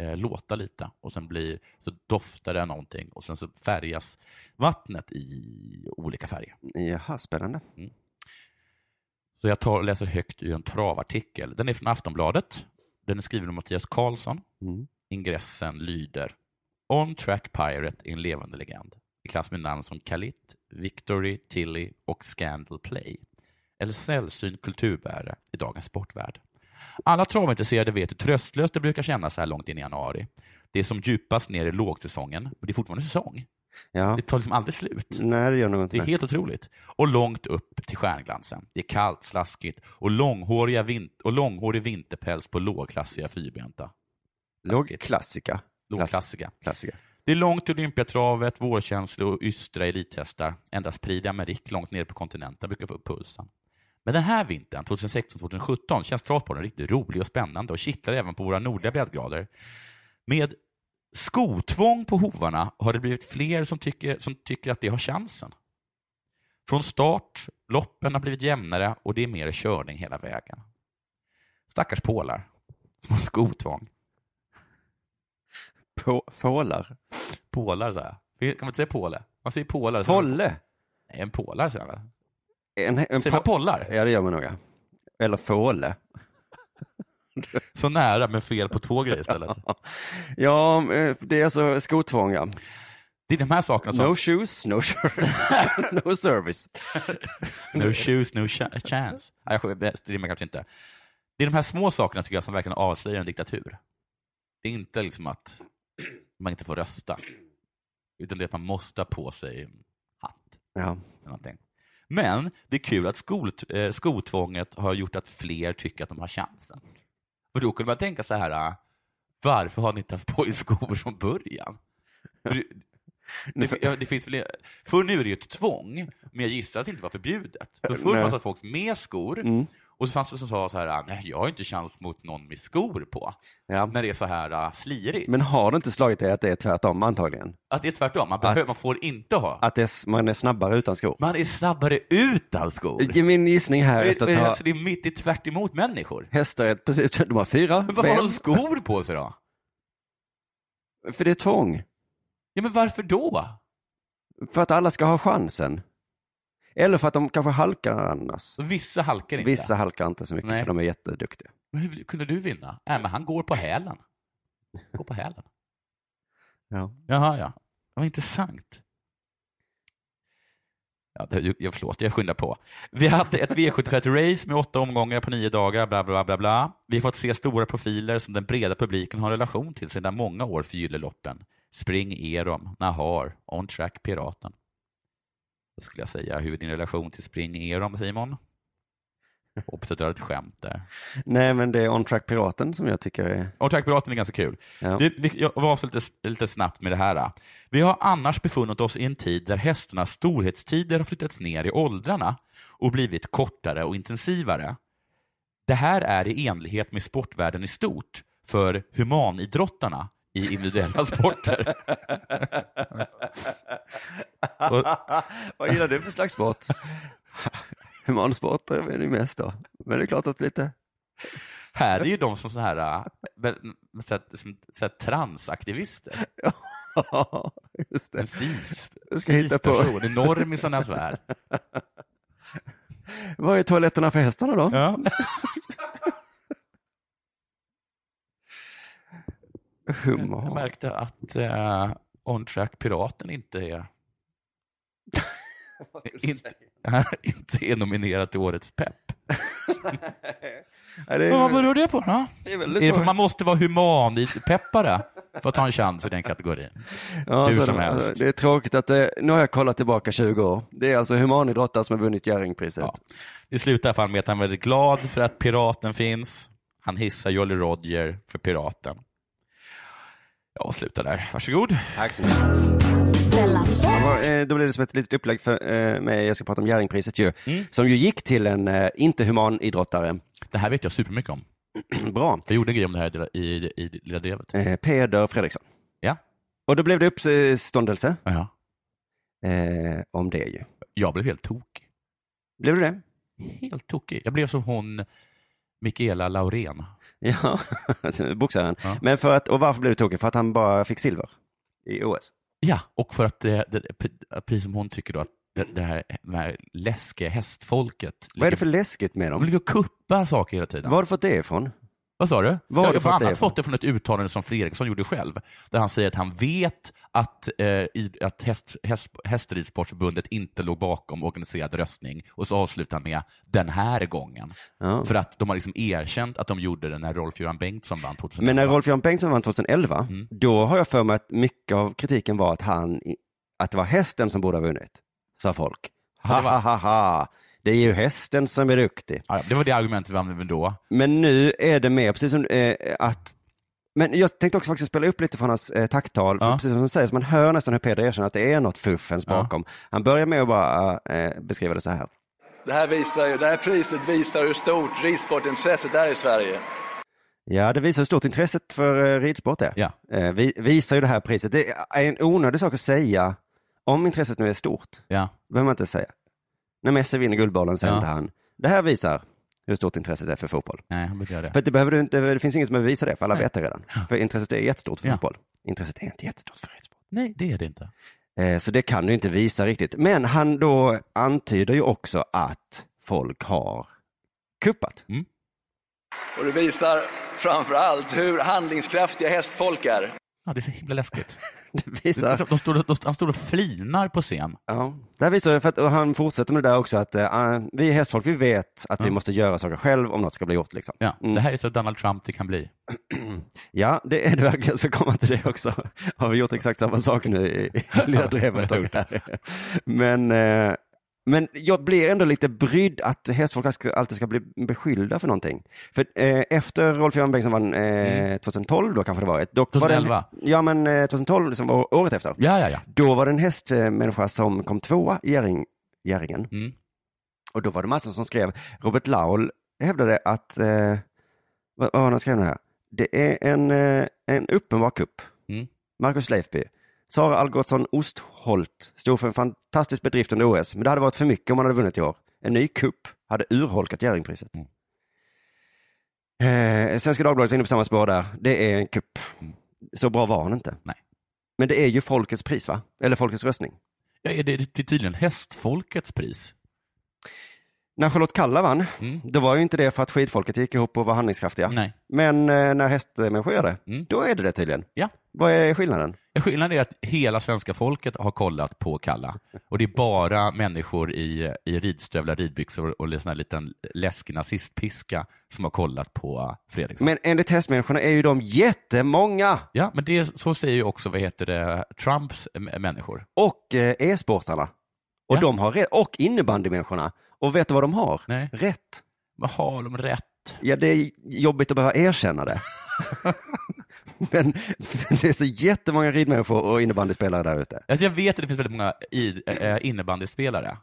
eh, låta lite och sen blir, så doftar det någonting och sen så färgas vattnet i olika färger.
Jaha, spännande.
Så jag tar och läser högt ur en travartikel. Den är från Aftonbladet. Den är skriven av Mattias Karlsson.
Mm.
Ingressen lyder On Track Pirate är en levande legend i klass med namn som Kalit, Victory, Tilly och Scandal Play. Eller sällsynt kulturbärare i dagens sportvärld. Alla travintresserade vet hur tröstlöst det brukar kännas så här långt in i januari. Det är som djupast ner i lågsäsongen, men det är fortfarande säsong.
Ja.
Det tar liksom aldrig slut.
Nej, det gör nog inte
Det är helt otroligt. Och långt upp till stjärnglansen. Det är kallt, slaskigt och, långhåriga vin- och långhårig vinterpäls på lågklassiga fyrbenta.
Låg klassika.
Lågklassiga.
klassika.
Det är långt till Olympiatravet, vårkänslor och ystra elithästar. Endast Prix d'Amérique långt ner på kontinenten brukar få upp pulsen. Men den här vintern, 2016-2017, känns travsporten riktigt rolig och spännande och kittlar även på våra nordliga breddgrader. Med skotvång på hovarna har det blivit fler som tycker, som tycker att det har chansen. Från start, loppen har blivit jämnare och det är mer körning hela vägen. Stackars pålar som har skotvång.
På, fålar.
Pålar, sa jag. Kan man inte säga påle? Man säger pålar. så-
Polle.
Nej, en polare säger man väl?
En, en
Säger man
po-
pollar?
Ja, det gör man nog. ja. Eller fåle.
Så nära, men fel på två grejer istället.
(laughs) Ja, eh, det är alltså skotvång, ja.
(laughs) Det är de här sakerna som...
No shoes, no shirts, (laughs) no
(laughs)
service.
No shoes, no cha- chance. Nej, jag sk- det rimmar kanske inte. Det är de här små sakerna tycker jag som verkligen avslöjar en diktatur. Det är inte liksom att man inte får rösta, utan det är att man måste ha på sig hatt.
Ja.
eller någonting. Men det är kul att skot, eh, skotvånget har gjort att fler tycker att de har chansen. För då kunde man tänka så här, ah, varför har ni inte haft på er skor från början? För det- Det, fi- ja, det finns väl, förr nu är det ju ett tvång, men jag gissar att det inte var förbjudet. För förr
Eh, Nej.
fanns det folk med skor,
Mm.
och så fanns det som sa så här, "Ah, nej, jag har inte chans mot någon med skor på, när det är så här ah, slirigt.
Men har det inte slagit dig att det är tvärtom antagligen?
Att det är tvärtom, man,
Ah.
behöver, man får inte ha.
Att det är, s- man är snabbare utan skor?
Man är snabbare utan skor.
Min gissning här är att
Och- och-
ha
Alltså, det är mitt i tvärt emot människor.
hästar, är, precis, (laughs) de har fyra
Men varför har de skor på sig då?
För det är tvång.
Ja, men varför då?
För att alla ska ha chansen. Eller för att de kanske halkar annars.
Vissa halkar inte.
Vissa halkar inte så mycket,
Nej.
för de är jätteduktiga.
Men hur kunde du vinna? Nej, men han går på hälen. Går på hälen.
Ja.
Jaha, ja. Vad intressant. Ja, det- jag, förlåt, jag skyndar på. Vi hade ett V75-race med åtta omgångar på nio dagar, bla, bla, bla, bla. Vi har fått se stora profiler som den breda publiken har relation till sedan många år för Gylleloppen. Spring Erom, Nahar, On Track Piraten. Då skulle jag säga, hur är din relation till Spring Erom, Simon? Hoppas att du har ett skämt där.
Nej, men det är On Track Piraten som jag tycker är...
Och tack piraten är ganska kul.
Ja.
Vi, vi, jag var också lite, lite snabbt med det här. då. Vi har annars befunnit oss i en tid där hästarnas storhetstider har flyttats ner i åldrarna och blivit kortare och intensivare. Det här är i enlighet med sportvärlden i stort för humanidrottarna i
(laughs)
individuella sporter.
(laughs) Vad gillar du för slags (laughs) sport? Humansport är väl det mest då. Men det är klart att lite... (laughs)
Här är ju de som så här, äh, men- men så här, som, så här transaktivister.
Ja, just det.
En cis,
Jag ska hitta på-
cis-person,
(laughs)
normisarnas värld.
Var är toaletterna för hästarna då?
Ja. Jag
Hummer.
märkte att eh, On Track Piraten inte är, (laughs) inte, inte är nominerad till Årets pepp.
Ja, det
Men vad
är,
beror det på då?
det är väldigt
Är det för
svårt.
att man måste vara human i peppare för att ta en chans i den kategorin?
Ja,
Hur
så
som
det,
helst.
Det är tråkigt att det, nu har jag kollat tillbaka 20 år. Det är alltså humanidrottare som har vunnit Jerringpriset.
Ja. Det slutar i alla fall med att han är väldigt glad för att piraten finns. Han hissar Jolly Roger för piraten. Jag slutar där. Varsågod.
Tack så mycket. Ja, eh, Då blev det som ett litet upplägg för eh, mig, jag ska prata om Jerringpriset ju, som ju gick till en eh, inte humanidrottare.
Det här vet jag supermycket om.
(clears throat) Bra.
Jag gjorde en grej om det här i, i, i Lilla Drevet.
Eh, Peder Fredriksson.
Ja.
Och då blev det uppståndelse
Ja.
eh, om det ju.
Jag blev helt tokig.
Blev du det? (laughs)
helt tokig. Jag blev som hon, Mikaela Laurén.
Ja, boxaren.
Ja.
Men för att, och varför blev du tokig? För att han bara fick silver i OS.
Ja, och för att, eh, det, det, att precis som hon tycker då att det, det, här, det här läskiga hästfolket
Vad är det för läskigt med
de
dem?
ligger och kuppar saker hela tiden.
Var har du fått det ifrån?
Vad sa du?
Var har
jag
du
jag har
fått
bland
det
annat
ifrån?
fått det från ett uttalande som Fredriksson gjorde själv, där han säger att han vet att, eh, i, att häst, häst, Hästridsportförbundet inte låg bakom organiserad röstning, och så avslutar han med ”den här gången”.
Ja.
För att de har liksom erkänt att de gjorde det när Rolf-Göran Bengtsson vann 2011.
Men när Rolf-Göran Bengtsson vann 2011, då har jag för mig att mycket av kritiken var att, han, att det var hästen som borde ha vunnit, sa folk.
Ja,
Ha,
det var-
ha, ha, ha. Det är ju hästen som är duktig.
Ja, det var det argumentet vi använde då.
Men nu är det mer, precis som eh, att men jag tänkte också faktiskt spela upp lite från hans eh, tacktal, för
Ja.
precis som du säger, så man hör nästan hur Peder erkänner att det är något fuffens
Ja.
bakom. Han börjar med att bara eh, beskriva det så här.
Det här, visar, ju- det här priset visar hur stort ridsportintresset är i Sverige.
Ja, det visar hur stort intresset för eh, ridsport är.
Ja.
Eh, vi, visar ju det här priset. Det är en onödig sak att säga om intresset nu är stort.
Ja.
behöver man inte säga. När Messi vinner Guldbollen säger
Ja.
inte han, det här visar hur stort intresset är för fotboll.
Nej, han borde göra det.
För att det, behöver du inte, det finns ingen som behöver visa det, för alla vet det redan. För intresset är jättestort för
Ja.
fotboll. Intresset är inte jättestort för ridsport.
Nej, det är det inte.
Eh, Så det kan du inte visa riktigt. Men han då antyder ju också att folk har kuppat. (laughs)
Och det visar framför allt hur handlingskraftiga hästfolk är.
Ja, det är så
(laughs)
himla läskigt.
Det
Det är
visar,
som- De står, de, han står och flinar på scen.
ja. det här visar ju för att, och han fortsätter med det där också, att eh, vi hästfolk, vi vet att vi
Ja.
måste göra saker själv om något ska bli gjort. Liksom.
Ja,
Mm.
Det här är så Donald Trump det kan bli.
Ja, det är det verkligen. Jag ska komma till det också. Har vi gjort exakt samma sak nu i, i Lilla Drevet? och där. Men eh, Men jag blir ändå lite brydd att hästfolk ska- alltid ska bli beskyllda för någonting. För eh, efter Rolf-Göran Bengtsson vann eh, 2012 då kanske det var ett. Dock var det en-
2011.
ja men eh, 2012 som var året efter.
Ja, ja, ja.
Då var det en hästmänniska som kom tvåa i Gäring, Gäringen. Och då var det massor som skrev, Robert Laul hävdade att, eh, vad vad var han skrev nu här? Det är en, eh, en uppenbar kupp.
Mm.
Marcus Leifby. Sara Algotsson Ostholt stod för en fantastisk bedrift under OS, men det hade varit för mycket om man hade vunnit i år. En ny kupp hade urholkat Jerringpriset. Eh, Svenska Dagbladet är inne på samma spår där. Det är en kupp. Så bra var han inte.
Nej.
Men det är ju folkets pris, va? Eller folkets röstning.
Ja, är det det är tydligen hästfolkets pris?
När Charlotte Kalla vann,
Mm.
då var ju inte det för att skidfolket gick ihop och var handlingskraftiga.
Nej. Mm.
Men eh, när hästmänniskor gör det, då är det det tydligen.
Ja.
Vad är skillnaden?
Skillnaden är att hela svenska folket har kollat på Kalla. Och det är bara människor i, i ridstövlar, ridbyxor och en sån här liten läskig nazistpiska som har kollat på Fredriksson.
Men enligt hästmänniskorna är ju de jättemånga!
Ja, men det, så säger ju också, vad heter det, Trumps m- människor.
Och eh, e-sportarna. Och, de har rätt. och innebandymänniskorna. Och vet du vad de har?
Nej.
Rätt.
Vad har de rätt?
Ja, det är jobbigt att behöva erkänna
(laughs)
det. (laughs) Men (laughs) det är så jättemånga ridmänniskor och innebandyspelare där ute.
Alltså jag vet att det finns väldigt många i, eh, innebandyspelare.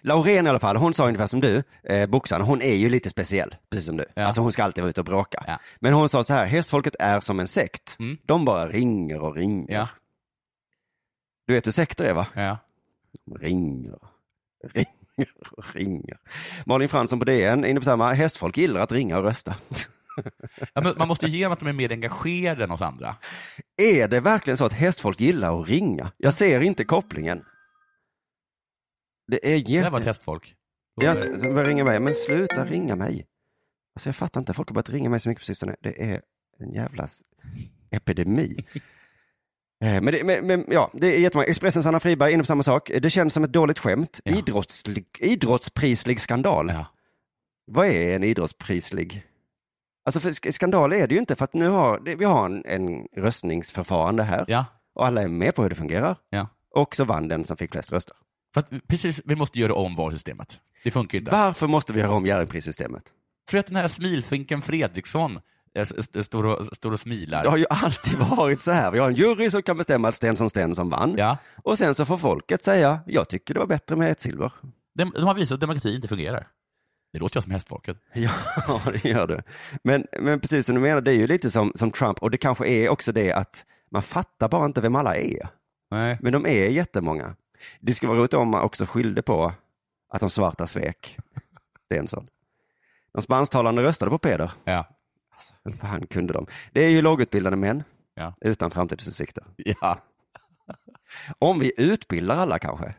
Laurén i alla fall, hon sa ungefär som du, eh, boxaren, hon är ju lite speciell, precis som du. Alltså hon ska alltid vara ute och bråka. Men hon sa så här, hästfolket är som en sekt. De bara ringer och ringer. Du vet hur sekter är va? De ringer, (laughs) ringer och ringer. Malin Fransson på DN, är inne på samma, hästfolk gillar att ringa och rösta. (laughs)
Ja, men man måste ge dem att de är mer engagerade än oss andra.
Är det verkligen så att hästfolk gillar att ringa? Jag ser inte kopplingen. Det är jätte...
Det var ett hästfolk.
Ja, så- så börjar ringa mig. Men sluta ringa mig. Alltså jag fattar inte, folk har börjat ringa mig så mycket på sistone. Det är en jävla s- epidemi. Eh, Men, det, men, men ja, det är jättemånga. Expressens Anna Friberg är inne på samma sak. Det känns som ett dåligt skämt. Idrottslig, idrottsprislig skandal. Vad är en idrottsprislig? Alltså för sk- skandal är det ju inte för att nu har det, vi har en, en röstningsförfarande här. Och alla är med på hur det fungerar.
Ja.
Och så vann den som fick flest röster.
För att, precis, vi måste göra om valsystemet. Det funkar ju inte.
Varför måste vi göra om Jerringprissystemet?
För att den här smilfinken Fredriksson eh, s- s- står och, står och smilar.
Det har ju alltid (laughs) varit så här. Vi har en jury som kan bestämma att Stensson Stensson vann. Och sen så får folket säga, jag tycker det var bättre med ett silver.
De, de har visat att demokrati inte fungerar. Det låter jag som hästfolket.
(laughs) Ja, det gör du. Men, men precis som du menar, det är ju lite som, som Trump. Och det kanske är också det att man fattar bara inte vem alla är.
Nej.
Men de är jättemånga. Det skulle vara roligt om man också skyllde på att de svarta svek Stensson. De spansktalande röstade på Peder.
Ja.
Alltså, hur fan kunde de? Det är ju lågutbildade män
Ja.
utan framtidsutsikter.
Ja.
Om vi utbildar alla kanske,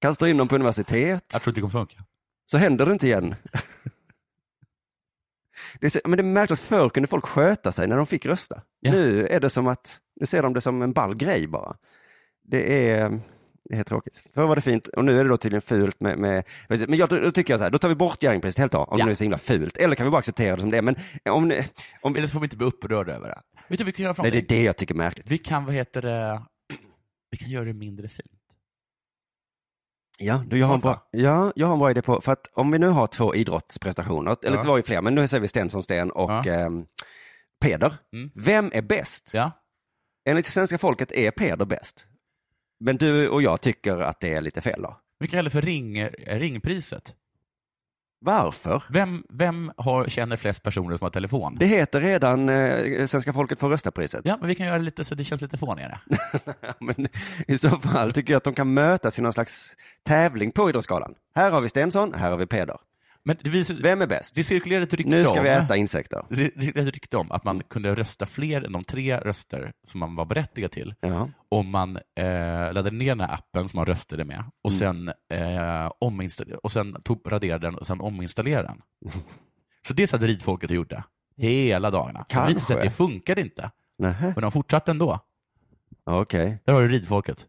kastar in dem på universitet.
Jag tror inte det kommer funka.
Så händer det inte igen. Det är, så- men det är märkligt att förr kunde folk sköta sig när de fick rösta. Nu är det som att, nu ser de det som en ball grej bara. Det är, det är tråkigt. Förr var det fint och nu är det då tydligen fult med, med men jag, då tycker jag så här, då tar vi bort gäringpriset helt och hållet, om det nu är så himla fult. Eller kan vi bara acceptera det som det är. Men om, ni- om
Eller så får vi inte bli upprörda över det. Vet du vad vi kan göra för
Nej, det är
någonting?
det jag tycker är märkligt.
Vi kan, vad heter det, vi kan göra det mindre fint.
Ja, du, jag, har en bra, ja, jag har en bra idé på, för att om vi nu har två idrottsprestationer, eller
Ja.
det var ju fler, men nu säger vi Stensson Sten och ehm, Peder. Vem är bäst?
Mm. Ja.
Enligt svenska folket är Peder bäst. Men du och jag tycker att det är lite fel då.
Vi kan kalla det för ring, eh, ringpriset.
Varför?
Vem, vem har, känner flest personer som har telefon?
Det heter redan eh, svenska folket får rösta-priset. (laughs)
Ja, men vi kan göra det lite så att det känns lite fånigare.
Men I så fall tycker jag att de kan mötas i någon slags tävling på Idrottsgalan. Här har vi Stensson, här har vi Peder.
Men det visar,
Vem är bäst?
Det cirkulerar ett rykte
Nu ska
om,
vi äta Mm. insekter.
Det cirkulerar ett rykte om att man kunde rösta fler än de tre röster som man var berättigad till
Ja.
om man eh, laddade ner den här appen som man röstade med
Mm.
och sen, eh, ominsta- och sen tog, raderade den och sen ominstallerade den. Så det satt ridfolket och gjorde hela dagarna. Så det visade sig att det
Kanske.
funkade inte.
Nähä.
Men de fortsatte ändå.
Okej.
Där har
(laughs)
du ridfolket.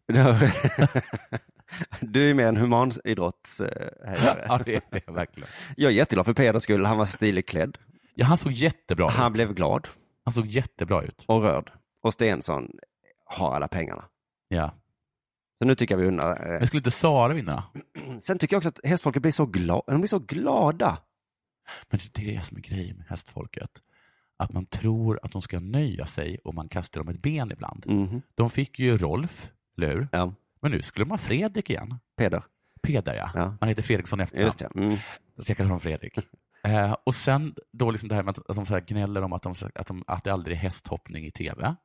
Du är mer en humanidrottshejare.
Ja, det är jag verkligen.
Jag är jätteglad för Peders skull. Han var stiligt klädd.
Ja, han såg jättebra ut.
Han blev glad
Han såg jättebra ut.
och rörd. Och Stensson har alla pengarna.
Ja.
Så nu tycker jag vi undrar.
Men skulle inte Sara vinna?
Sen tycker jag också att hästfolket blir så, gla- de blir så glada.
Men det är det som är grejen med hästfolket. Att man tror att de ska nöja sig och man kastar dem ett ben ibland.
Mm-hmm.
De fick ju Rolf, eller hur? Men nu skulle de ha Fredrik igen.
Peder.
Peder, ja. Han heter Fredriksson i efternamn.
Just det. Mm.
Så jag kallar
(laughs)
honom Fredrik. Eh, och sen då liksom det här med att, att de så här gnäller om att, de, att, de, att det aldrig är hästhoppning i tv.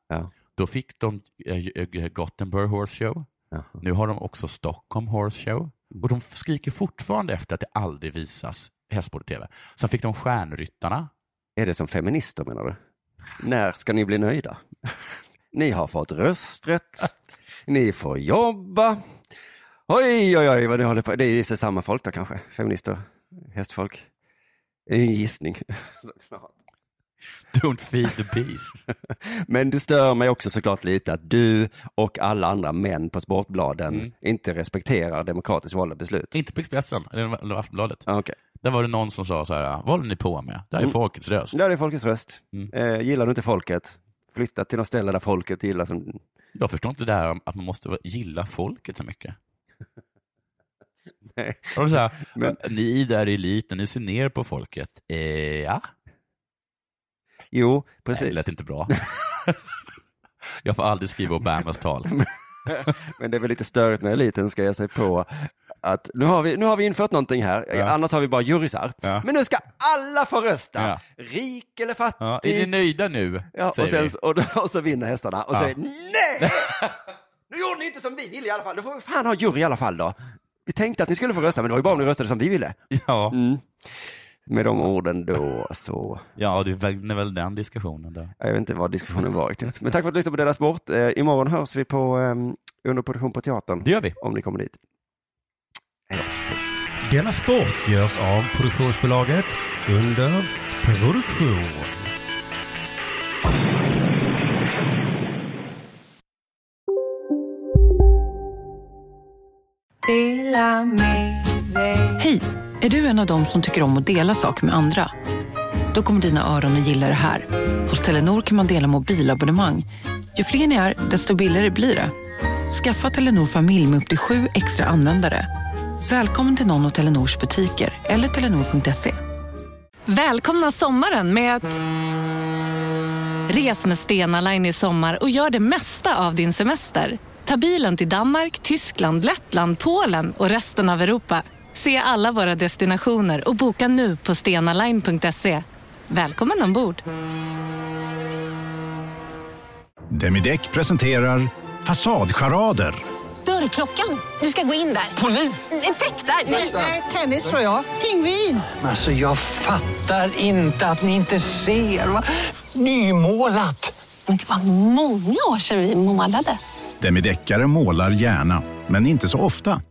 Då fick de eh, eh, Gothenburg Horse Show. Nu har de också Stockholm Horse Show. Och de skriker fortfarande efter att det aldrig visas hästsport i tv. Sen fick de Stjärnryttarna.
Är det som feminister menar du? När ska ni bli nöjda? Ni har fått rösträtt, ni får jobba. Oj, oj, oj vad ni håller på. Det är ju så samma folk då kanske, feminister, hästfolk. Det är ju en gissning. Såklart.
Don't feed the beast.
Men det stör mig också såklart lite att du och alla andra män på Sportbladen
Mm.
inte respekterar demokratiskt valda beslut.
(laughs)
Ah,
Inte på Expressen, eller eller Aftonbladet. Där var det någon som sa så här, vad håller ni på med? Det här är
Mm.
folkets röst.
Ja, det är folkets röst. Eh, gillar du inte folket, flytta till något ställe där folket gillar som...
Jag förstår inte det här om att man måste gilla folket
(laughs)
så mycket. Och de så här, "Äh, Ni där i eliten, ni ser ner på folket. Eh, ja.
Jo, precis.
Det lät
(laughs)
inte bra. (laughs) jag får aldrig skriva Obamas tal.
Men det är väl lite störigt när eliten ska ge sig på att nu har vi, nu har vi infört någonting här, annars har vi bara jurysar. Men nu ska alla få rösta,
Ja.
rik eller fattig.
Ja, är ni nöjda nu?
Ja, och,
Säger
sen,
vi.
och, då- och så vinner hästarna och
Ja.
säger nej! Nu gjorde ni inte som vi ville i alla fall, då får vi fan ha jury i alla fall då. Vi tänkte att ni skulle få rösta, men det var ju bara om ni röstade som vi ville. Mm.
Ja.
Med de orden då så.
Ja, det är väl den diskussionen där.
Jag vet inte vad diskussionen var riktigt. Men tack för att du lyssnade på Della Sport. Eh, imorgon hörs vi på eh, underproduktion på teatern. Det
gör vi.
Om ni kommer dit.
Denna sport görs av produktionsbolaget under produktion.
Hej! Är du en av dem som tycker om att dela saker med andra? Då kommer dina öron att gilla det här. Hos Telenor kan man dela mobilabonnemang. Ju fler ni är, desto billigare blir det. Skaffa Telenor familj med upp till sju extra användare. Välkommen till någon av Telenors butiker eller telenor.se.
Välkomna sommaren med att... Res med Stena Line i sommar och gör det mesta av din semester. Ta bilen till Danmark, Tyskland, Lettland, Polen och resten av Europa. Se alla våra destinationer och boka nu på stenaline.se. Välkommen ombord!
Demideck presenterar Fasadcharader.
Dörrklockan. Du ska gå in där. Polis? Effektar? Nej, nej, tennis tror jag. Pingvin.
Alltså jag fattar inte att ni inte ser. Va? Nymålat.
Men det var många år sedan vi målade.
Demideckare målar gärna, men inte så ofta.